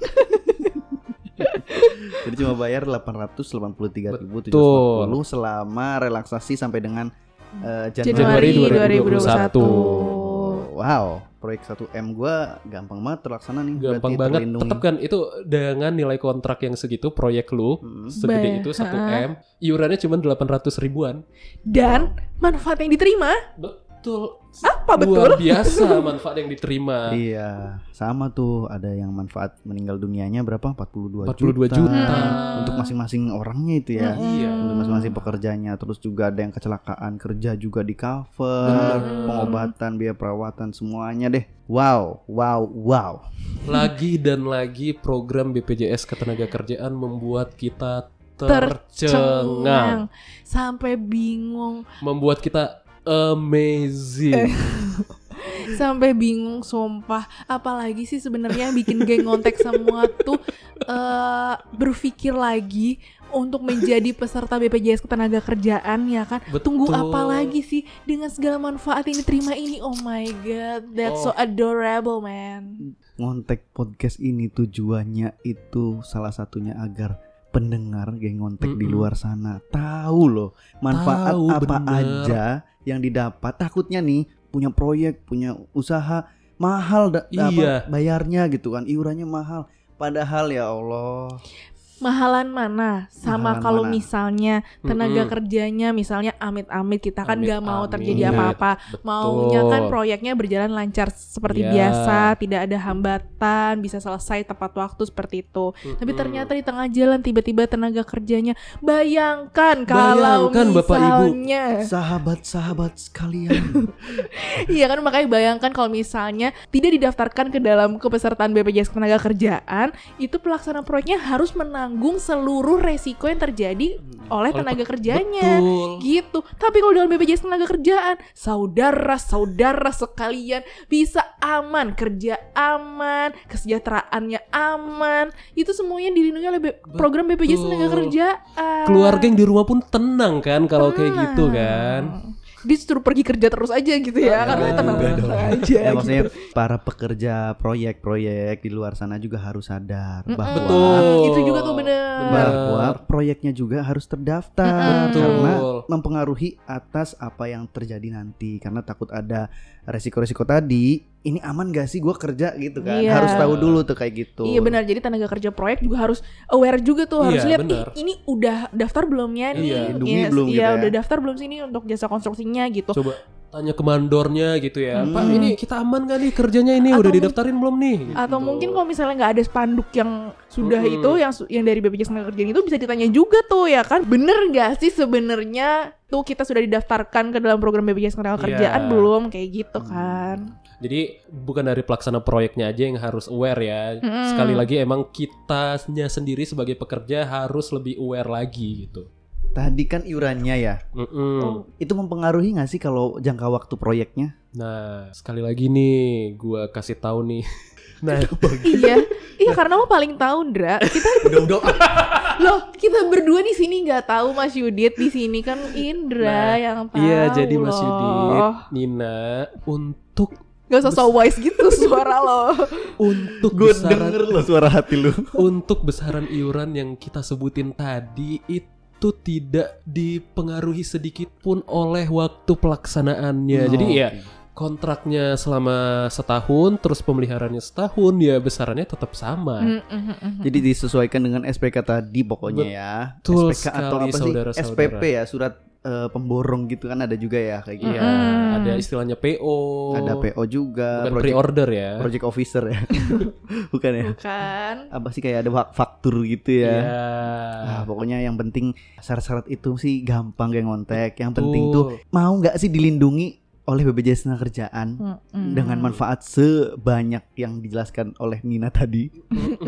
Speaker 3: Jadi cuma bayar 883.750
Speaker 2: Betul.
Speaker 3: selama relaksasi sampai dengan eh,
Speaker 4: Januari
Speaker 3: Januari,
Speaker 4: 2021.
Speaker 3: 2021. Wow, proyek 1M gua gampang banget terlaksana nih.
Speaker 2: Gampang
Speaker 3: berarti
Speaker 2: banget.
Speaker 3: terlindungi.
Speaker 2: Tetap kan itu dengan nilai kontrak yang segitu proyek lu
Speaker 3: Hmm.
Speaker 2: segede
Speaker 4: Bayar.
Speaker 2: itu 1M, iurannya cuma 800 ribuan.
Speaker 4: Dan manfaat yang diterima
Speaker 2: Betul.
Speaker 4: apa betul?
Speaker 2: Luar biasa manfaat yang diterima.
Speaker 3: Iya, sama tuh ada yang manfaat meninggal dunianya berapa? 42,
Speaker 2: 42
Speaker 3: juta.
Speaker 2: juta.
Speaker 3: Untuk masing-masing orangnya itu ya.
Speaker 4: Hmm.
Speaker 2: Iya.
Speaker 3: Untuk masing-masing pekerjanya, terus juga ada yang kecelakaan kerja juga di cover, pengobatan, biaya perawatan semuanya deh. Wow, wow, wow.
Speaker 2: Lagi dan lagi program BPJS Ketenagakerjaan membuat kita tercengang.
Speaker 4: Tercengang sampai bingung,
Speaker 2: membuat kita amazing.
Speaker 4: Eh, sampai bingung sumpah. Apalagi sih sebenarnya yang bikin geng ngontek semua tuh eh, berpikir lagi untuk menjadi peserta BPJS Ketenagakerjaan ya kan. Tunggu
Speaker 2: Betul.
Speaker 4: apa lagi sih dengan segala manfaat yang diterima ini? Oh my god, that's so
Speaker 2: Oh.
Speaker 4: adorable man.
Speaker 3: Ngontek podcast ini tujuannya itu salah satunya agar pendengar geng ngontek di
Speaker 2: Mm-mm.
Speaker 3: luar sana tahu loh manfaat
Speaker 2: Tahu,
Speaker 3: apa
Speaker 2: bener.
Speaker 3: aja yang didapat. Takutnya nih punya proyek, punya usaha mahal da- da- apa,
Speaker 2: Iya.
Speaker 3: bayarnya gitu kan, iurannya mahal. Padahal ya Allah,
Speaker 4: mahalan mana sama
Speaker 3: Mahalan
Speaker 4: kalau
Speaker 3: mana?
Speaker 4: misalnya tenaga
Speaker 2: Mm-mm.
Speaker 4: kerjanya misalnya amit-amit kita kan nggak mau
Speaker 2: Amit-amit.
Speaker 4: terjadi apa-apa maunya kan
Speaker 2: Betul.
Speaker 4: proyeknya berjalan lancar seperti
Speaker 2: Ya.
Speaker 4: biasa tidak ada hambatan bisa selesai tepat waktu seperti itu tapi
Speaker 2: Mm-mm.
Speaker 4: ternyata di tengah jalan tiba-tiba tenaga kerjanya bayangkan kalau
Speaker 2: Bayangkan, Bapak, Ibu.
Speaker 4: misalnya
Speaker 2: Eh.
Speaker 3: Sahabat-sahabat sekalian.
Speaker 4: Iya kan makanya bayangkan kalau misalnya tidak didaftarkan ke dalam kepesertaan BPJS Ketenagakerjaan, itu pelaksana proyeknya harus menanggung seluruh resiko yang terjadi oleh
Speaker 2: Mm. Oleh
Speaker 4: tenaga
Speaker 2: pe-
Speaker 4: kerjanya.
Speaker 2: Betul.
Speaker 4: Gitu. Tapi kalau dalam BPJS Ketenagakerjaan, saudara-saudara sekalian bisa aman, kerja aman, kesejahteraannya aman. Itu semuanya dilindungi oleh B- program BPJS
Speaker 2: Betul.
Speaker 4: Ketenagakerjaan.
Speaker 2: Keluarga yang di rumah pun tenang kan kalau kayak
Speaker 4: Ah.
Speaker 2: gitu kan. Iya,
Speaker 4: Dia suruh Hmm. pergi kerja terus aja gitu ya, karena
Speaker 2: enggak
Speaker 4: tenang
Speaker 2: juga dong.
Speaker 4: aja.
Speaker 3: ya,
Speaker 4: gitu.
Speaker 3: maksudnya para pekerja proyek-proyek di luar sana juga harus sadar bahwa
Speaker 2: Betul.
Speaker 4: gitu. Itu juga tuh bener.
Speaker 3: bahwa proyeknya juga harus
Speaker 4: Ah,
Speaker 3: terdaftar
Speaker 2: Betul.
Speaker 3: karena mempengaruhi atas apa yang terjadi nanti karena takut ada resiko-resiko tadi ini aman gak sih gue kerja gitu kan
Speaker 4: Iya.
Speaker 3: harus tahu dulu tuh kayak gitu
Speaker 4: Iya benar. Jadi tenaga kerja proyek juga harus aware juga tuh harus
Speaker 2: Iya,
Speaker 4: lihat
Speaker 2: benar.
Speaker 4: "Ih, ini udah daftar belum ya nih.
Speaker 2: Iya,
Speaker 3: lindungi belum
Speaker 4: iya,
Speaker 3: gitu ya.
Speaker 4: udah daftar belum sih nih untuk jasa konstruksinya gitu.
Speaker 2: Coba tanya ke mandornya gitu ya.
Speaker 3: Hmm.
Speaker 2: Pak, ini kita aman gak nih kerjanya ini
Speaker 4: Atau
Speaker 2: udah
Speaker 4: mung-
Speaker 2: didaftarin belum nih?
Speaker 4: Atau
Speaker 2: Gitu.
Speaker 4: mungkin kalau misalnya nggak ada spanduk yang sudah
Speaker 2: Mm-mm.
Speaker 4: itu yang su- yang dari BPJS tenaga kerjaan itu bisa ditanya juga tuh ya kan. Bener nggak sih sebenarnya tuh kita sudah didaftarkan ke dalam program BPJS tenaga kerjaan
Speaker 2: Iya.
Speaker 4: belum kayak gitu
Speaker 3: Hmm.
Speaker 4: kan.
Speaker 2: Jadi bukan dari pelaksana proyeknya aja yang harus aware ya.
Speaker 4: Mm-mm.
Speaker 2: Sekali lagi emang kitanya sendiri sebagai pekerja harus lebih aware lagi gitu.
Speaker 3: tadi kan iurannya ya
Speaker 2: Mm-mm.
Speaker 4: Oh.
Speaker 3: itu mempengaruhi gak sih kalau jangka waktu proyeknya
Speaker 2: Nah, sekali lagi nih gua kasih tahu nih. Nah,
Speaker 4: iya. Iya karena lo paling tahu Ndra
Speaker 3: udah-udah ah,
Speaker 4: Loh, kita berdua di sini nggak tahu Mas Yudit di sini kan Indra
Speaker 2: Nah,
Speaker 4: yang tahu.
Speaker 2: iya jadi Mas Yudit,
Speaker 4: loh.
Speaker 2: Nina untuk
Speaker 4: Gak usah so wise gitu suara lo.
Speaker 2: untuk
Speaker 3: gue
Speaker 2: besaran
Speaker 3: denger loh suara hati lu
Speaker 2: untuk besaran iuran yang kita sebutin tadi itu tidak dipengaruhi sedikit pun oleh waktu pelaksanaannya.
Speaker 3: Oh,
Speaker 2: Jadi ya kontraknya selama setahun, terus pemeliharaannya setahun, ya besarannya tetap
Speaker 4: Hmm.
Speaker 2: sama.
Speaker 3: Jadi disesuaikan dengan SPK tadi pokoknya ya.
Speaker 2: Betul
Speaker 3: SPK atau
Speaker 2: sekali,
Speaker 3: apa
Speaker 2: saudara-saudara.
Speaker 3: sih? SPP ya, surat eh, pemborong gitu kan ada juga ya kayak gitu.
Speaker 2: Iya,
Speaker 4: Mm-mm.
Speaker 2: ada istilahnya PO.
Speaker 3: Ada PO juga,
Speaker 2: Mm-hmm. Bukan
Speaker 3: project,
Speaker 2: pre-order ya.
Speaker 3: project officer ya. Bukan ya?
Speaker 4: Bukan.
Speaker 3: Apa sih kayak ada fak- faktur gitu
Speaker 2: Iya.
Speaker 3: ya. Ah, pokoknya yang penting syarat-syarat itu sih gampang kayak ngontek. Yang
Speaker 2: Betul.
Speaker 3: penting tuh mau nggak sih dilindungi oleh BPJS Tenaga Kerjaan
Speaker 4: Hmm.
Speaker 3: dengan manfaat sebanyak yang dijelaskan oleh Nina tadi.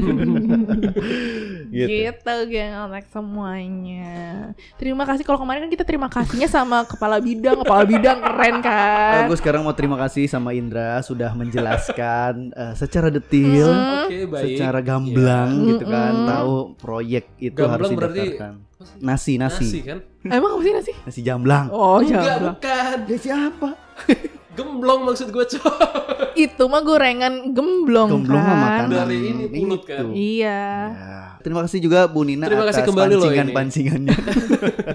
Speaker 4: gitu. geng anak semuanya. Terima kasih kalau kemarin kan kita terima kasihnya sama kepala bidang, kepala bidang keren
Speaker 3: Eh,
Speaker 4: kan.
Speaker 3: gue sekarang mau terima kasih sama Indra sudah menjelaskan eh, secara detail,
Speaker 4: Mm.
Speaker 2: Oke, baik.
Speaker 3: secara gamblang
Speaker 4: Iya.
Speaker 3: gitu kan,
Speaker 4: Mm-mm.
Speaker 3: tahu proyek itu
Speaker 2: Gamblang
Speaker 3: harus
Speaker 2: berarti-
Speaker 3: didaftarkan. Nasi, nasi,
Speaker 2: Nasi kan?
Speaker 4: Emang apa sih nasi?
Speaker 3: nasi jamblang.
Speaker 4: Oh,
Speaker 2: Enggak,
Speaker 4: jangan.
Speaker 2: bukan.
Speaker 3: Dari siapa?
Speaker 2: Gemblong maksud gue, coy.
Speaker 4: Itu mah gorengan gemblong,
Speaker 3: Gemblong mah
Speaker 4: kan.
Speaker 3: makanan.
Speaker 2: Dari ini mulut kan.
Speaker 3: Itu.
Speaker 4: Iya.
Speaker 3: Ya. Terima kasih juga Bu Nina
Speaker 2: Terima
Speaker 3: atas
Speaker 2: kasih kembali loh ini. Iya,
Speaker 3: pancingan-pancingannya.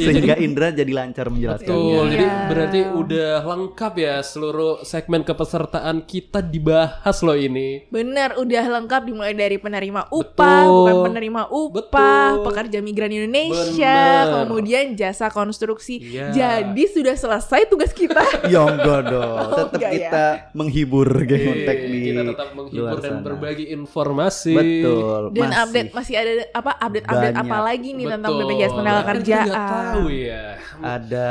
Speaker 3: Sehingga Indra jadi lancar
Speaker 2: Betul,
Speaker 3: menjelaskannya.
Speaker 2: jadi
Speaker 4: Iya.
Speaker 2: berarti udah lengkap ya seluruh segmen kepesertaan kita dibahas loh ini.
Speaker 4: Benar, udah lengkap dimulai dari penerima upah,
Speaker 2: Betul.
Speaker 4: bukan penerima upah,
Speaker 2: Betul.
Speaker 4: pekerja migran Indonesia,
Speaker 2: Bener.
Speaker 4: kemudian jasa konstruksi.
Speaker 2: Iya.
Speaker 4: Jadi sudah selesai tugas kita.
Speaker 3: Ya enggak dong,
Speaker 4: Oh,
Speaker 3: tetap
Speaker 4: enggak ya.
Speaker 3: kita menghibur
Speaker 2: Oke,
Speaker 3: Gengontek di
Speaker 2: Iya, kita tetap menghibur
Speaker 3: luar
Speaker 2: dan
Speaker 3: sana.
Speaker 2: berbagi informasi.
Speaker 3: Betul.
Speaker 4: Dan
Speaker 3: masih.
Speaker 4: update masih ada apa update-update
Speaker 3: Banyak.
Speaker 4: apa lagi nih tentang
Speaker 2: Betul.
Speaker 4: BPJS Tenaga
Speaker 2: Kan
Speaker 4: Kerjaan.
Speaker 2: Kita nggak tahu ya.
Speaker 3: ada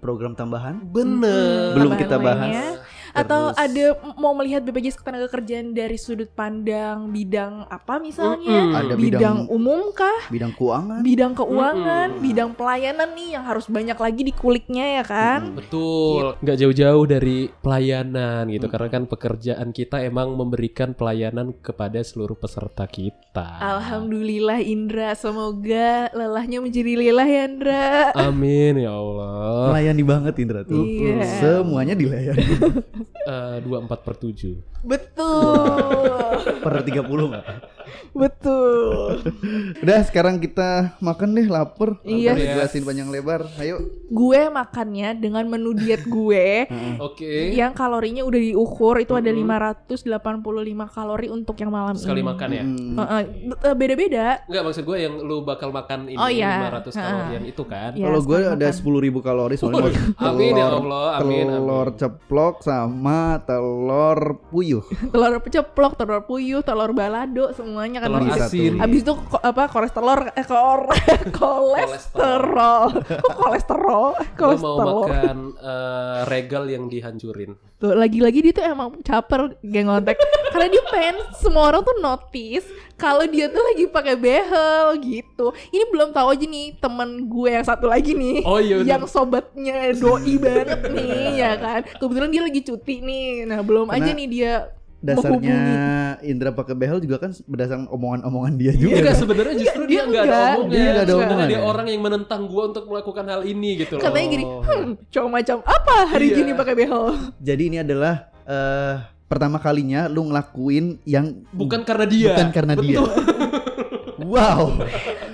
Speaker 3: program tambahan
Speaker 2: Bener.
Speaker 3: belum kita bahas
Speaker 4: lainnya. Atau
Speaker 3: Terus-
Speaker 4: ada m- mau melihat BPJS Ketenaga Kerjaan dari sudut pandang bidang apa misalnya?
Speaker 2: Mm-mm. Ya,
Speaker 3: ada
Speaker 4: Bidang
Speaker 3: bidang
Speaker 4: umum kah?
Speaker 3: bidang keuangan
Speaker 4: Bidang keuangan,
Speaker 2: Mm-mm.
Speaker 4: bidang pelayanan nih yang harus banyak lagi dikuliknya ya kan?
Speaker 3: Hmm.
Speaker 2: Betul, nggak jauh-jauh dari pelayanan
Speaker 3: Mm.
Speaker 2: gitu, karena kan pekerjaan kita emang memberikan pelayanan kepada seluruh peserta kita.
Speaker 4: Alhamdulillah Indra, semoga lelahnya menjadi lelah ya Indra.
Speaker 2: Amin ya Allah.
Speaker 3: melayani banget Indra tuh
Speaker 4: Iya.
Speaker 3: semuanya dilayani
Speaker 2: Eh, Dua empat per tujuh.
Speaker 4: Betul.
Speaker 3: per 30 nggak
Speaker 4: Betul.
Speaker 3: Udah sekarang kita makan deh lapar.
Speaker 4: Iya.
Speaker 3: Udah Dijelasin panjang lebar. Ayo.
Speaker 4: Gue makannya dengan menu diet gue
Speaker 2: Oke.
Speaker 4: yang kalorinya udah diukur itu ada 585 kalori untuk yang malam
Speaker 2: Sekali
Speaker 4: ini.
Speaker 2: makan ya.
Speaker 3: Hmm.
Speaker 4: Heeh, bet- eh, beda-beda.
Speaker 2: Enggak maksud gue yang lu bakal makan ini
Speaker 4: Oh, iya.
Speaker 2: 500 kalorian itu kan.
Speaker 4: Ya,
Speaker 3: Kalau gue
Speaker 4: sekali
Speaker 3: ada
Speaker 4: makan.
Speaker 3: 10.000 ribu kalori soalnya mau
Speaker 2: Amin ya
Speaker 3: telur,
Speaker 2: Allah, amin, amin.
Speaker 3: telur ceplok sama telur puyuh.
Speaker 4: telur ceplok, telur puyuh, telur balado semuanya kan
Speaker 2: Telur
Speaker 4: bisa.
Speaker 2: asin.
Speaker 3: Iya.
Speaker 4: Abis itu ko- apa kolesterol eh kor- kolesterol. Kok kolesterol?
Speaker 2: Gue mau
Speaker 4: Kolesterol.
Speaker 2: makan eh, regal yang dihancurin.
Speaker 4: Tuh, lagi-lagi dia tuh emang caper geng ontek karena dia pengen semua orang tuh notice kalau dia tuh lagi pakai behel gitu ini belum tahu aja nih temen gue yang satu lagi nih
Speaker 2: Oh, iya bener.
Speaker 4: yang sobatnya doi banget nih ya kan kebetulan dia lagi cuti nih nah belum
Speaker 3: Karena
Speaker 4: aja nih dia
Speaker 3: Dasarnya
Speaker 4: menghubungi
Speaker 3: Indra pakai behel juga kan berdasarkan omongan-omongan dia
Speaker 2: Enggak
Speaker 3: juga.
Speaker 2: sebenarnya justru
Speaker 4: dia
Speaker 2: dia enggak ada
Speaker 4: Iya, enggak.
Speaker 2: omongan.
Speaker 3: Dia enggak ada
Speaker 2: Sebenarnya
Speaker 3: omongan
Speaker 2: dia
Speaker 3: ya.
Speaker 2: orang yang menentang gue untuk melakukan hal ini gitu loh.
Speaker 4: katanya gini hmm cowok macam apa hari
Speaker 2: Iya.
Speaker 4: gini pakai behel
Speaker 3: Jadi ini adalah eh pertama kalinya lu ngelakuin yang
Speaker 2: Bukan karena dia.
Speaker 3: Bukan karena dia.
Speaker 2: Betul.
Speaker 3: Wow,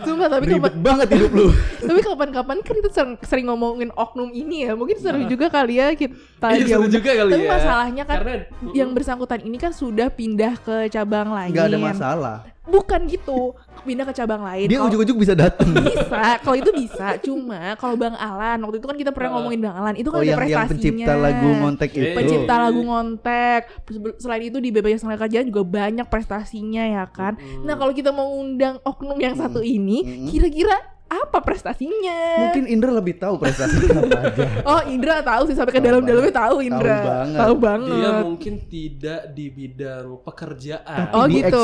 Speaker 4: Sumpah tapi kapan,
Speaker 3: ribet banget hidup lu.
Speaker 4: tapi kapan-kapan kan kita sering, sering ngomongin oknum ini ya mungkin seru juga kali ya kita
Speaker 2: Nah. Iya, seru
Speaker 4: diundang.
Speaker 2: juga kali
Speaker 4: tapi
Speaker 2: ya.
Speaker 4: masalahnya kan
Speaker 2: Karena
Speaker 4: yang bersangkutan ini kan sudah pindah ke cabang lain.
Speaker 3: Gak ada masalah.
Speaker 4: Bukan gitu, pindah ke cabang lain.
Speaker 3: Dia
Speaker 4: Kalau-
Speaker 3: ujuk-ujuk bisa datang.
Speaker 4: bisa, kalau itu bisa. Cuma kalau Bang Alan waktu itu kan kita pernah ngomongin Bang Alan, itu kan
Speaker 3: Oh
Speaker 4: ada
Speaker 3: yang
Speaker 4: prestasinya.
Speaker 3: yang pencipta lagu ngontek itu.
Speaker 2: Iya.
Speaker 4: Pencipta lagu ngontek. Sebe- Selain itu di Bebas Tenaga Kerjaan juga banyak prestasinya ya kan. Nah, kalau kita mau undang oknum yang satu ini,
Speaker 3: Mm-mm.
Speaker 4: kira-kira apa prestasinya?
Speaker 3: Mungkin Indra lebih tahu prestasinya apa aja.
Speaker 4: Oh, Indra tahu sih sampai ke
Speaker 3: Tahu
Speaker 4: dalam-dalamnya tahu Indra.
Speaker 3: banget. Iya,
Speaker 4: Tahu banget.
Speaker 2: dia mungkin tidak di bidang pekerjaan.
Speaker 4: Oh,
Speaker 3: Di
Speaker 4: gitu.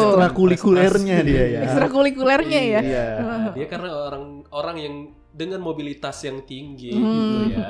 Speaker 3: ekstrakurikulernya dia ya.
Speaker 4: Ekstrakurikulernya ya.
Speaker 3: Iya.
Speaker 2: Dia karena orang orang yang dengan mobilitas yang tinggi
Speaker 4: Hmm.
Speaker 2: gitu ya.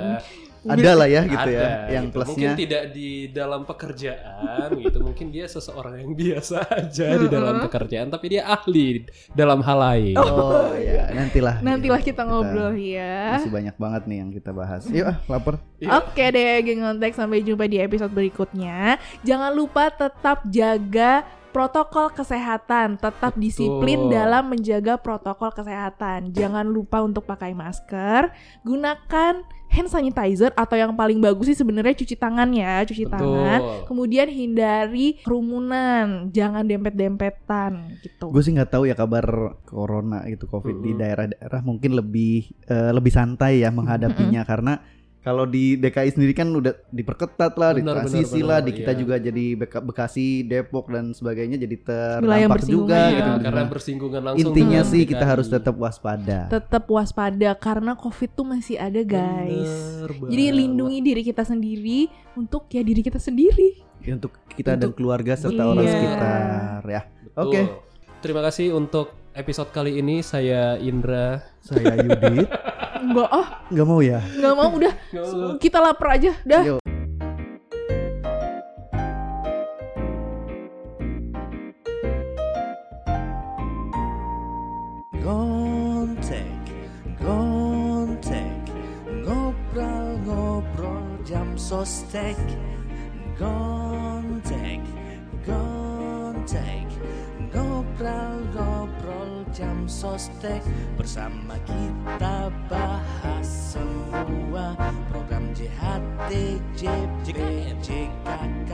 Speaker 3: Ada lah ya gitu ya.
Speaker 2: Ada,
Speaker 3: Yang
Speaker 2: gitu.
Speaker 3: plusnya.
Speaker 2: Mungkin tidak di dalam pekerjaan gitu. Mungkin dia seseorang yang biasa aja di
Speaker 4: Hmm.
Speaker 2: dalam pekerjaan tapi dia ahli dalam hal lain.
Speaker 3: Oh ya
Speaker 2: Iya,
Speaker 3: nantilah.
Speaker 4: Nantilah kita ngobrol ya.
Speaker 3: Masih banyak banget nih yang kita bahas. Yuk ah lapar.
Speaker 2: Iya.
Speaker 4: Oke deh geng kontak sampai jumpa di episode berikutnya. Jangan lupa tetap jaga protokol kesehatan, tetap disiplin
Speaker 2: Betul.
Speaker 4: dalam menjaga protokol kesehatan. Jangan lupa untuk pakai masker, gunakan hand sanitizer atau yang paling bagus sih sebenarnya cuci tangan ya, cuci tangan.
Speaker 2: Betul.
Speaker 4: Kemudian hindari kerumunan, jangan dempet-dempetan gitu.
Speaker 3: Gue sih nggak tahu ya kabar corona gitu covid di
Speaker 2: Mm-mm.
Speaker 3: daerah-daerah mungkin lebih eh, lebih santai ya menghadapinya karena kalau di DKI sendiri kan udah diperketat lah, di
Speaker 2: Benar, benar,
Speaker 3: transisi
Speaker 2: benar,
Speaker 3: lah, di kita
Speaker 2: iya.
Speaker 3: juga jadi Beka- Bekasi, Depok dan sebagainya jadi
Speaker 4: Wilayah
Speaker 3: terdampak
Speaker 4: bersinggungan
Speaker 3: juga
Speaker 4: ya.
Speaker 2: Iya,
Speaker 3: gitu.
Speaker 2: karena bersinggungan langsung.
Speaker 3: Intinya
Speaker 2: dengan
Speaker 3: sih kita
Speaker 2: DKI.
Speaker 3: harus tetap waspada.
Speaker 4: Tetap waspada karena Covid tuh masih ada, guys.
Speaker 2: Bener
Speaker 4: Jadi
Speaker 2: banget.
Speaker 4: lindungi diri kita sendiri untuk ya diri kita sendiri.
Speaker 3: Ya, untuk kita dan
Speaker 2: Untuk-
Speaker 3: keluarga serta orang
Speaker 4: Iya.
Speaker 3: sekitar ya.
Speaker 2: Betul.
Speaker 3: Oke.
Speaker 2: Terima kasih untuk episode kali ini saya Indra.
Speaker 3: Saya Yudit,
Speaker 4: Enggak ah,
Speaker 3: nggak mau ya.
Speaker 4: enggak mau udah kita lapar aja. Dah.
Speaker 3: Yuk.
Speaker 1: Gontek, gontek, ngobrol ngobrol jam sostek. Gontek, gontek, ngobrol ngobrol jam sostek. Bersama kita bahas semua program JHT, JP, JKK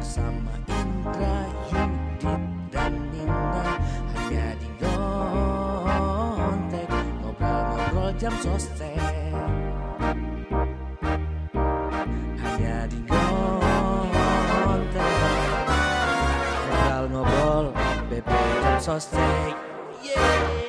Speaker 1: bersama Indra Yudit dan Nina hanya di Gontek ngobrol-ngobrol jam sostek hanya di Gontek ngobrol-ngobrol BP jam sostek yeah.